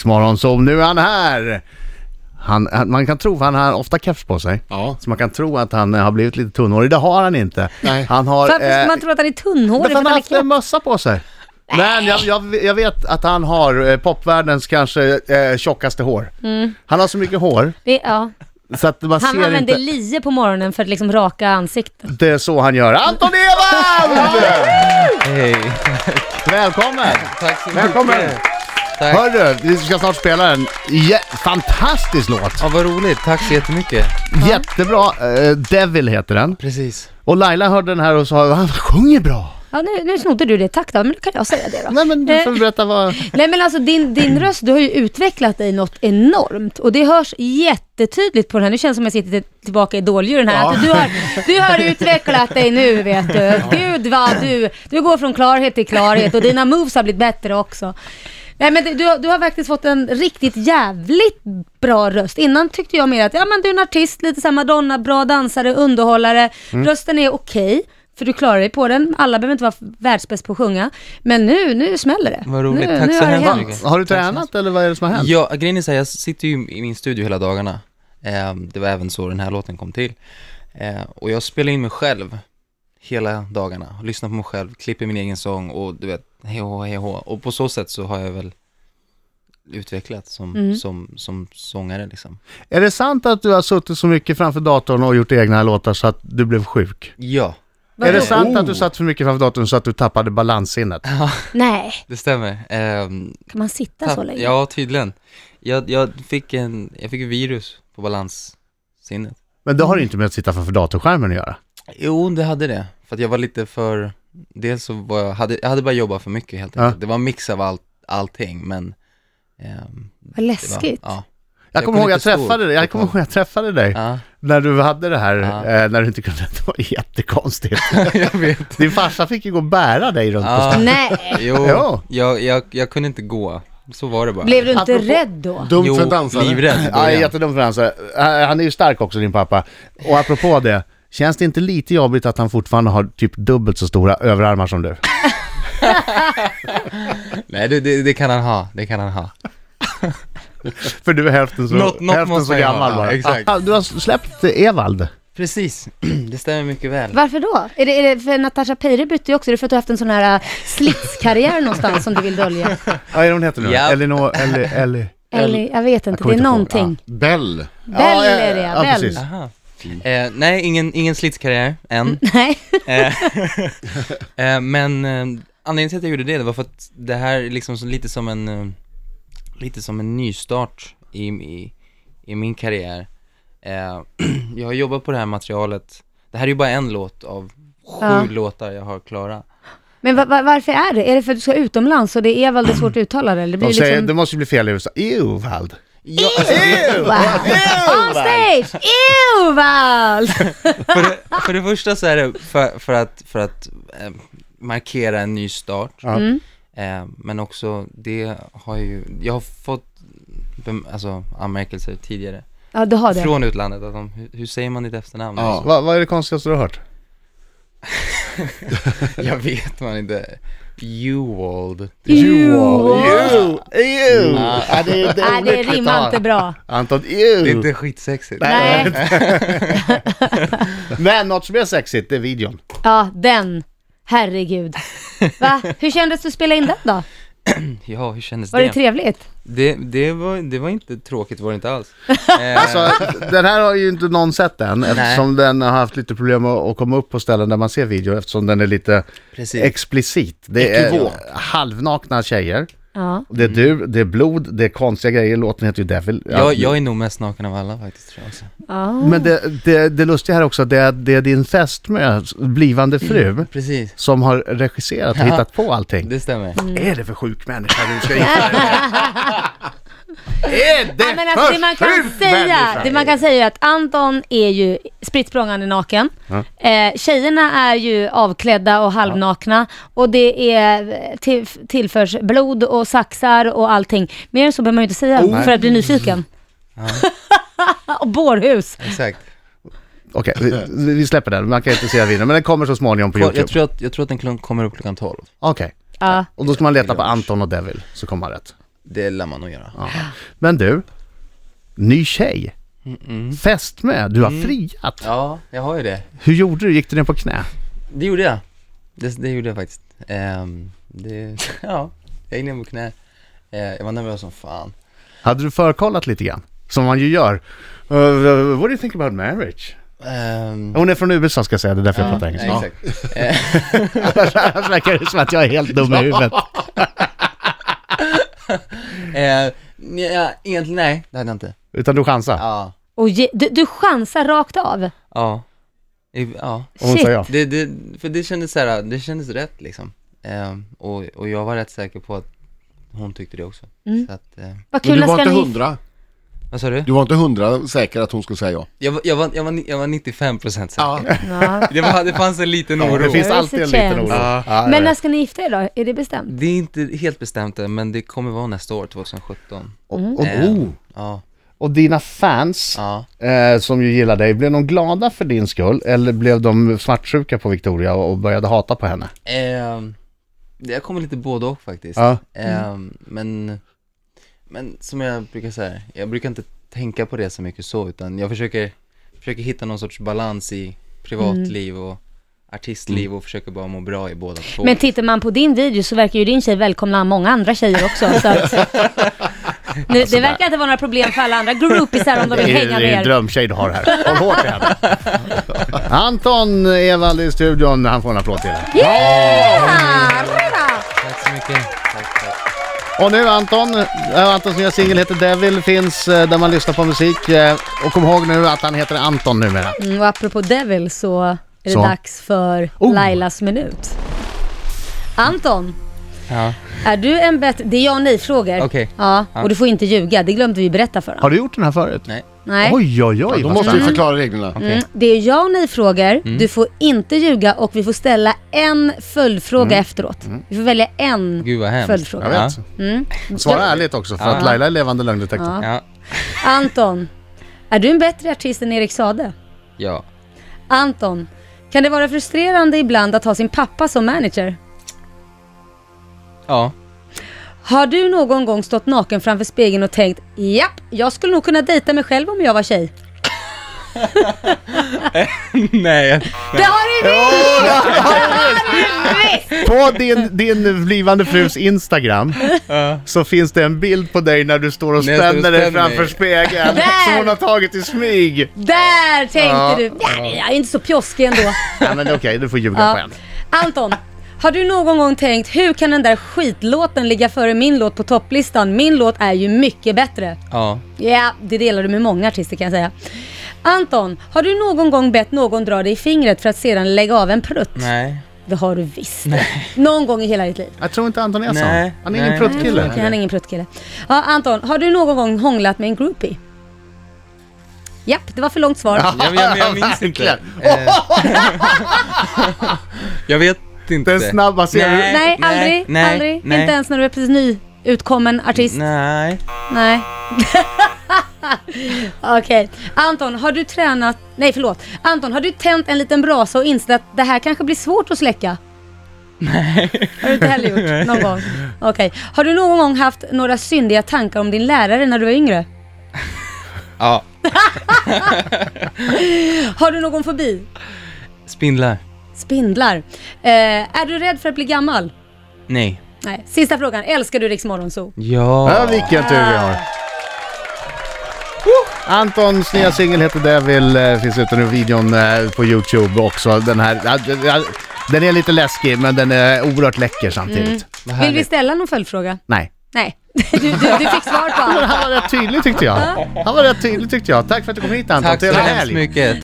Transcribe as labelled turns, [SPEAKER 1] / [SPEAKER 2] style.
[SPEAKER 1] Riksmorgonzoo, nu är han här! Han, han, man kan tro, för han har ofta keps på sig,
[SPEAKER 2] Ja.
[SPEAKER 1] så man kan tro att han eh, har blivit lite tunnhårig. Det har han inte.
[SPEAKER 2] Nej.
[SPEAKER 1] Han har...
[SPEAKER 3] Varför skulle
[SPEAKER 1] eh,
[SPEAKER 3] man tro att han är tunnhårig
[SPEAKER 1] därför
[SPEAKER 3] för
[SPEAKER 1] han
[SPEAKER 3] att
[SPEAKER 1] har
[SPEAKER 3] han är
[SPEAKER 1] haft en
[SPEAKER 3] knäpp?
[SPEAKER 1] mössa på sig. Men jag, jag, jag vet att han har eh, popvärldens kanske eh, tjockaste hår. Han har så mycket hår
[SPEAKER 3] Det, ja.
[SPEAKER 1] så att man
[SPEAKER 3] Mm. Han
[SPEAKER 1] ser
[SPEAKER 3] använder
[SPEAKER 1] inte...
[SPEAKER 3] lie på morgonen för att liksom raka ansiktet.
[SPEAKER 1] Det är så han gör. Anton Ewald!
[SPEAKER 2] Hej.
[SPEAKER 1] Välkommen!
[SPEAKER 2] Tack så
[SPEAKER 1] Välkommen.
[SPEAKER 2] mycket. Tack.
[SPEAKER 1] Hörru, vi ska snart spela en jä- fantastisk låt.
[SPEAKER 2] Ja, vad roligt. Tack så jättemycket.
[SPEAKER 1] Jättebra. Eh, Devil heter den.
[SPEAKER 2] Precis.
[SPEAKER 1] Och Laila hörde den här och sa han sjunger bra.
[SPEAKER 3] Ja, nu, nu snodde du det. Tack då, men då kan jag säga det då.
[SPEAKER 1] Nej men du får
[SPEAKER 2] Eh,
[SPEAKER 1] berätta vad...
[SPEAKER 3] Nej men alltså din, din röst, du har ju utvecklat dig något enormt och det hörs jättetydligt på den här. Nu känns det som att jag sitter till- tillbaka i dåldjuren här. Att du, har, du har utvecklat dig nu vet du. Gud vad du, du går från klarhet till klarhet och dina moves har blivit bättre också. Nej men det- du, har- du har faktiskt fått en riktigt jävligt bra röst. Innan tyckte jag mer att, ja men du är en artist, lite såhär Madonna, bra dansare, underhållare. Rösten är okej. för du klarar dig på den. Alla behöver inte vara världsbäst på att sjunga. Men nu, nu smäller det.
[SPEAKER 2] Vad roligt.
[SPEAKER 3] Nu,
[SPEAKER 2] Tack
[SPEAKER 3] nu
[SPEAKER 2] så
[SPEAKER 3] har det
[SPEAKER 2] hemskt
[SPEAKER 3] hänt.
[SPEAKER 2] mycket.
[SPEAKER 1] Har du tränat eller vad är det som har hänt?
[SPEAKER 2] Ja, grejen är så här, jag sitter ju i min studio hela dagarna. Eh, Det var även så den här låten kom till. Eh, Och jag spelar in mig själv hela dagarna. Lyssnar på mig själv, klipper min egen sång och du vet, hej och hej och. Och på så sätt så har jag väl utvecklats som, som, som sångare liksom.
[SPEAKER 1] Är det sant att du har suttit så mycket framför datorn och gjort egna låtar så att du blev sjuk?
[SPEAKER 2] Ja,
[SPEAKER 1] Är
[SPEAKER 3] Vadå?
[SPEAKER 1] det sant att du
[SPEAKER 2] Oh.
[SPEAKER 1] satt för mycket framför datorn så att du tappade balanssinnet?
[SPEAKER 3] Nej,
[SPEAKER 2] det stämmer. Ehm,
[SPEAKER 3] kan man sitta så
[SPEAKER 2] Tapp-
[SPEAKER 3] länge?
[SPEAKER 2] Ja, tydligen. Jag, jag fick en, jag fick ett virus på balanssinnet.
[SPEAKER 1] Men det har ju inte med att sitta framför datorskärmen att göra.
[SPEAKER 2] Jo, det hade det. För att jag var lite för, dels så var jag, hade, jag hade bara jobbat för mycket helt
[SPEAKER 1] Ja.
[SPEAKER 2] enkelt. Det var en mix av allt, allting, men ehm,
[SPEAKER 3] Vad
[SPEAKER 2] det var-
[SPEAKER 3] läskigt.
[SPEAKER 2] Ja.
[SPEAKER 1] Jag
[SPEAKER 2] Jag
[SPEAKER 1] kommer
[SPEAKER 2] kom
[SPEAKER 1] ihåg jag
[SPEAKER 2] lite stor
[SPEAKER 1] träffade dig, jag kommer ihåg jag träffade dig
[SPEAKER 2] ja,
[SPEAKER 1] när du hade det här,
[SPEAKER 2] Ja.
[SPEAKER 1] eh, när du inte kunde, det var jättekonstigt.
[SPEAKER 2] jag vet.
[SPEAKER 1] Din farsa fick ju gå och bära dig runt på
[SPEAKER 2] Ja.
[SPEAKER 1] stan.
[SPEAKER 3] Nej,
[SPEAKER 2] Jo,
[SPEAKER 1] Ja.
[SPEAKER 2] jag, jag, jag kunde inte gå. Så var det bara.
[SPEAKER 3] blev du inte
[SPEAKER 1] Apropå-
[SPEAKER 3] rädd då?
[SPEAKER 4] Dumt
[SPEAKER 2] jo,
[SPEAKER 4] för en dansare.
[SPEAKER 2] livrädd i
[SPEAKER 1] Ja,
[SPEAKER 2] början.
[SPEAKER 1] jättedumt för han så. Eh, Han är ju stark också din pappa. Och apropå det, känns det inte lite jobbigt att han fortfarande har typ dubbelt så stora överarmar som du?
[SPEAKER 2] Nej, det, det, det kan han ha, det kan han ha.
[SPEAKER 1] För du är hälften så,
[SPEAKER 2] Något- något
[SPEAKER 1] hälften
[SPEAKER 2] måste
[SPEAKER 1] så
[SPEAKER 2] jag
[SPEAKER 1] gammal
[SPEAKER 2] ha,
[SPEAKER 1] bara.
[SPEAKER 2] ja, exakt.
[SPEAKER 1] Ah, du har släppt Evald.
[SPEAKER 2] Precis, det stämmer mycket väl.
[SPEAKER 3] Varför då? Är det, är det för Natasha Peire bytte ju också, är det för att du har haft en sån här äh, slitskarriär någonstans som du vill dölja?
[SPEAKER 1] Vad är det hon heter nu?
[SPEAKER 2] Ja.
[SPEAKER 1] Elinor, Elli, Elli.
[SPEAKER 3] Eller, jag vet inte,
[SPEAKER 1] kommer
[SPEAKER 3] det är
[SPEAKER 1] inte ihåg.
[SPEAKER 3] någonting.
[SPEAKER 4] Bell.
[SPEAKER 3] Bell
[SPEAKER 1] Ja,
[SPEAKER 3] är det,
[SPEAKER 1] ja, ja,
[SPEAKER 3] Bell.
[SPEAKER 1] precis.
[SPEAKER 2] Aha. Eh, nej, ingen, ingen slitskarriär än.
[SPEAKER 3] Nej,
[SPEAKER 2] Eh, eh, men eh, anledningen till att jag gjorde det, det var för att det här är liksom så, lite som en, eh, lite som en nystart i, i, i min karriär. Eh, jag har jobbat på det här materialet, det här är ju bara en låt av sju
[SPEAKER 3] Ja.
[SPEAKER 2] låtar jag har klara.
[SPEAKER 3] men va, va, varför är det? Är det för att du ska utomlands och det är väldigt svårt att uttala det? Eller det blir
[SPEAKER 1] De säger, det
[SPEAKER 3] liksom...
[SPEAKER 1] måste ju bli fel i USA. Evald.
[SPEAKER 2] Jag, alltså,
[SPEAKER 3] Wow. On stage! Ewald!
[SPEAKER 2] för, det, för det första så är det för, för att, för att eh, markera en ny start.
[SPEAKER 1] Ja.
[SPEAKER 3] Mm.
[SPEAKER 2] Eh, men också, det har ju, jag har fått bem, alltså, anmärkelser tidigare
[SPEAKER 3] Ja, du har det.
[SPEAKER 2] Från utlandet, att de, hur, hur säger man ditt efternamn?
[SPEAKER 4] Ja.
[SPEAKER 1] Vad, vad är det konstigaste du har hört?
[SPEAKER 2] Jag vet man inte. Ewald.
[SPEAKER 3] Ewald.
[SPEAKER 1] Ew. Ew.
[SPEAKER 2] Ja.
[SPEAKER 1] Ja, det, är- det, är
[SPEAKER 3] Nej, det
[SPEAKER 1] olyckligt
[SPEAKER 3] rimmar
[SPEAKER 1] tal.
[SPEAKER 3] inte bra.
[SPEAKER 1] Anton,
[SPEAKER 2] Det är
[SPEAKER 1] ew.
[SPEAKER 2] inte skitsexigt.
[SPEAKER 3] Nej.
[SPEAKER 1] Men något som är sexigt, det är videon.
[SPEAKER 3] Ja, den. Herregud. Va? Hur kändes det att spela in den då?
[SPEAKER 2] Ja, hur kändes
[SPEAKER 3] Var det trevligt?
[SPEAKER 2] Det, det, var, det var inte tråkigt, var det inte alls. Eh,
[SPEAKER 1] Alltså, den här har ju inte någon sett än eftersom den har haft lite problem att att komma upp på ställen där man ser video eftersom den är lite
[SPEAKER 2] precis.
[SPEAKER 1] explicit. Det är
[SPEAKER 4] Ekivok.
[SPEAKER 1] halvnakna tjejer.
[SPEAKER 3] Ja.
[SPEAKER 1] Det är du, det är blod, det är konstiga grejer. Låten heter ju Devil. Ja,
[SPEAKER 2] jag, jag är nog mest naken av alla faktiskt, tror jag. också.
[SPEAKER 3] ja.
[SPEAKER 1] Men det, det, det lustiga här också, det är, det är din fästmö, blivande fru,
[SPEAKER 2] Precis,
[SPEAKER 1] som har regisserat och
[SPEAKER 2] Ja.
[SPEAKER 1] hittat på allting.
[SPEAKER 2] det stämmer.
[SPEAKER 3] Mm.
[SPEAKER 1] Vad är det för sjuk människa du ska gifta dig med? Är det
[SPEAKER 3] Nej, men alltså, det, man
[SPEAKER 1] för
[SPEAKER 3] kan
[SPEAKER 1] sjuk
[SPEAKER 3] säga,
[SPEAKER 1] människa?
[SPEAKER 3] det man kan säga är att Anton är ju spritt språngande naken. Eh, tjejerna är ju avklädda och halvnakna. Och det är eh, till, tillförs blod och saxar och allting. Mer än så behöver man ju inte säga för att bli nyfiken. och bårhus.
[SPEAKER 2] Exakt.
[SPEAKER 1] Okej, vi, vi släpper den. Man kan inte se videon, men den kommer så småningom på YouTube.
[SPEAKER 2] Jag tror, att, jag tror att den klunk- kommer upp klockan 12.
[SPEAKER 1] Okej,
[SPEAKER 3] Ja.
[SPEAKER 1] och då ska man leta på Anton och Devil, så kommer man rätt.
[SPEAKER 2] Det lär man nog göra.
[SPEAKER 1] Ja. Men du, ny tjej. Fest med, du har
[SPEAKER 2] Mm.
[SPEAKER 1] friat.
[SPEAKER 2] Ja, jag har ju det.
[SPEAKER 1] Hur gjorde du? Gick du ner på knä?
[SPEAKER 2] Det gjorde jag. Det, det gjorde jag faktiskt. Ehm, det, ja, jag gick ner på knä. Eh, jag var nervös som fan.
[SPEAKER 1] Hade du förkollat lite grann? Som man ju gör. Uh, what do you think about marriage?
[SPEAKER 2] Ehm,
[SPEAKER 1] Hon är från USA ska jag säga, det är därför jag pratar engelska.
[SPEAKER 2] nej, exakt. Eh,
[SPEAKER 1] Annars verkar det som att jag är helt dum i huvudet.
[SPEAKER 2] eh, nja, egentligen nej, det hade jag inte.
[SPEAKER 1] Utan du chansar.
[SPEAKER 2] Ja,
[SPEAKER 3] Och ge, du, du chansar rakt av.
[SPEAKER 2] ja. I- ja.
[SPEAKER 1] Om hon
[SPEAKER 3] Shit.
[SPEAKER 1] säger ja.
[SPEAKER 2] Det, det, för det kändes så här, det kändes rätt liksom. Ehm, och, och jag var rätt säker på att hon tyckte det också. Så att, eh,
[SPEAKER 3] Vad
[SPEAKER 4] Men
[SPEAKER 3] kul
[SPEAKER 4] du
[SPEAKER 3] att
[SPEAKER 4] var
[SPEAKER 3] ska
[SPEAKER 4] inte
[SPEAKER 3] ni...
[SPEAKER 4] hundra?
[SPEAKER 2] vad sa du?
[SPEAKER 4] Du var inte hundra säker att hon skulle säga ja?
[SPEAKER 2] Jag, var- jag, var, jag, var, ni- jag var 95% säker.
[SPEAKER 3] Ja.
[SPEAKER 2] Det, var, det fanns en liten
[SPEAKER 1] Ja,
[SPEAKER 2] oro.
[SPEAKER 1] Det finns
[SPEAKER 3] There is
[SPEAKER 1] alltid
[SPEAKER 3] a
[SPEAKER 1] en liten
[SPEAKER 3] chance.
[SPEAKER 1] oro.
[SPEAKER 2] Ja.
[SPEAKER 1] Ja,
[SPEAKER 3] Men
[SPEAKER 1] ja.
[SPEAKER 3] när ska ni gifta er då? Är det bestämt?
[SPEAKER 2] Det är inte helt bestämt än, men det kommer vara nästa år, 2017.
[SPEAKER 1] Och, och,
[SPEAKER 2] Eh,
[SPEAKER 1] oh.
[SPEAKER 2] Ja,
[SPEAKER 1] och dina fans
[SPEAKER 2] ja.
[SPEAKER 1] eh, som ju gillar dig, blev de glada för din skull? Eller blev de svartsjuka på Victoria och och började hata på henne?
[SPEAKER 2] Ehm, det har kommit lite både och faktiskt.
[SPEAKER 1] Ja.
[SPEAKER 3] Mm.
[SPEAKER 2] Ehm, men, men som jag brukar säga, jag brukar inte tänka på det så mycket så, utan jag försöker, försöker hitta någon sorts balans i privatliv och artistliv och försöker bara må bra i båda två.
[SPEAKER 3] Mm. Men tittar man på din video så verkar ju din tjej välkomna många andra tjejer också. Så att, nu, det verkar inte vara några problem för alla andra groupisar om de
[SPEAKER 1] Alltså Det
[SPEAKER 3] vill
[SPEAKER 1] är,
[SPEAKER 3] hänga
[SPEAKER 1] det är en
[SPEAKER 3] med er.
[SPEAKER 1] drömtjej du har här. Håll hårt i henne. Anton Evald i studion, han får en applåd till.
[SPEAKER 3] Yeah!
[SPEAKER 2] Tack så mycket. Tack, tack.
[SPEAKER 1] Och nu Anton, eh, Antons nya singel heter Devil, finns eh, där man lyssnar på musik. eh, Och kom ihåg nu att han heter Anton numera.
[SPEAKER 3] Mm, och apropå Devil så är det
[SPEAKER 1] Så.
[SPEAKER 3] dags för
[SPEAKER 1] Oh.
[SPEAKER 3] Lailas minut. Anton,
[SPEAKER 2] Ja.
[SPEAKER 3] är du en bättre... Det är ja och nej-frågor.
[SPEAKER 2] Okej.
[SPEAKER 3] Ja,
[SPEAKER 2] Ja.
[SPEAKER 3] och du får inte ljuga. Det glömde vi berätta för
[SPEAKER 1] Har
[SPEAKER 3] honom.
[SPEAKER 1] du gjort den här förut?
[SPEAKER 2] Nej.
[SPEAKER 3] Nej.
[SPEAKER 1] Oj, oj, oj.
[SPEAKER 4] Då
[SPEAKER 1] vad
[SPEAKER 4] måste vi
[SPEAKER 1] spännande.
[SPEAKER 4] förklara reglerna.
[SPEAKER 2] Okej.
[SPEAKER 3] Mm, det är ja och nej-frågor.
[SPEAKER 1] Mm.
[SPEAKER 3] Du får inte ljuga och vi får ställa en följdfråga
[SPEAKER 1] Mm.
[SPEAKER 3] efteråt. Vi får välja en
[SPEAKER 2] Gud vad hemskt.
[SPEAKER 3] följdfråga.
[SPEAKER 1] Jag vet.
[SPEAKER 3] Mm.
[SPEAKER 1] Svara ärligt också, för att Laila är levande lögndetektor.
[SPEAKER 3] Ja.
[SPEAKER 2] Ja.
[SPEAKER 3] Anton, är du en bättre artist än Erik Sade?
[SPEAKER 2] ja.
[SPEAKER 3] Anton, kan det vara frustrerande ibland att ha sin pappa som manager?
[SPEAKER 2] Ja.
[SPEAKER 3] Har du någon gång stått naken framför spegeln och tänkt Japp, jag skulle nog kunna dejta mig själv om jag var tjej?
[SPEAKER 2] Nej, jag-
[SPEAKER 3] Det har du visst!
[SPEAKER 1] På din, din blivande frus Instagram så finns det en bild på dig när du står och
[SPEAKER 2] När jag står och
[SPEAKER 1] spänner dig
[SPEAKER 2] spänner mig.
[SPEAKER 1] framför spegeln
[SPEAKER 3] Där!
[SPEAKER 1] som hon har tagit i smyg.
[SPEAKER 3] Där tänkte
[SPEAKER 1] Ja.
[SPEAKER 3] du! Ja, jag är inte så pjoskig ändå.
[SPEAKER 1] Ja, men okej, du får ljuga
[SPEAKER 3] Ja.
[SPEAKER 1] på en.
[SPEAKER 3] Anton, har du någon gång tänkt hur kan den där skitlåten ligga före min låt på topplistan? Min låt är ju mycket bättre.
[SPEAKER 2] ja.
[SPEAKER 3] Ja, det delar du med många artister kan jag säga. Anton, har du någon gång bett någon dra dig i fingret för att sedan lägga av en prutt?
[SPEAKER 2] Nej.
[SPEAKER 3] Det har du visst. Någon gång i hela ditt liv.
[SPEAKER 1] Jag tror inte Anton är sån.
[SPEAKER 2] Nej,
[SPEAKER 1] Han är ingen
[SPEAKER 2] nej.
[SPEAKER 1] pruttkille.
[SPEAKER 3] Okej, han är ingen pruttkille. Ja, Anton, har du någon gång hånglat med en groupie? Japp, det var för långt svar.
[SPEAKER 2] Jag, jag, jag minns inte.
[SPEAKER 1] Verkligen.
[SPEAKER 2] Eh. jag vet inte.
[SPEAKER 1] Den snabba serien.
[SPEAKER 2] Nej.
[SPEAKER 3] Nej, aldrig,
[SPEAKER 2] nej,
[SPEAKER 3] aldrig.
[SPEAKER 2] nej.
[SPEAKER 3] Inte ens när du är precis ny utkommen artist.
[SPEAKER 2] Nej.
[SPEAKER 3] Nej. Okej. Anton, har du tränat... Nej, förlåt. Anton, har du tänt en liten brasa och insett att det här kanske blir svårt att släcka? Nej. Har du inte heller gjort någon gång? Okej. Har du någon gång haft några syndiga tankar om din lärare när du var yngre?
[SPEAKER 2] Ja.
[SPEAKER 3] Har du någon fobi?
[SPEAKER 2] Spindlar.
[SPEAKER 3] Spindlar. Eh, är du rädd för att bli gammal?
[SPEAKER 2] Nej.
[SPEAKER 3] Nej. Sista frågan. Älskar du Riks Morgonzoo?
[SPEAKER 2] Ja.
[SPEAKER 1] Ja, vilken tur vi har. Antons nya singel heter Devil, eh, finns ute nu videon eh, på Youtube också. Den här, ja, ja, den är lite läskig men den är oerhört läcker samtidigt.
[SPEAKER 2] Vad
[SPEAKER 3] Vill vi
[SPEAKER 2] härligt.
[SPEAKER 3] ställa någon följdfråga?
[SPEAKER 1] Nej.
[SPEAKER 3] Nej. Du, du, du fick svar på allt.
[SPEAKER 1] Han var rätt tydlig tyckte jag. Han var rätt tydlig tyckte jag. Tack för att du kom hit Anton.
[SPEAKER 2] Tack så
[SPEAKER 1] Trevlig
[SPEAKER 2] hemskt
[SPEAKER 1] helg.
[SPEAKER 2] mycket.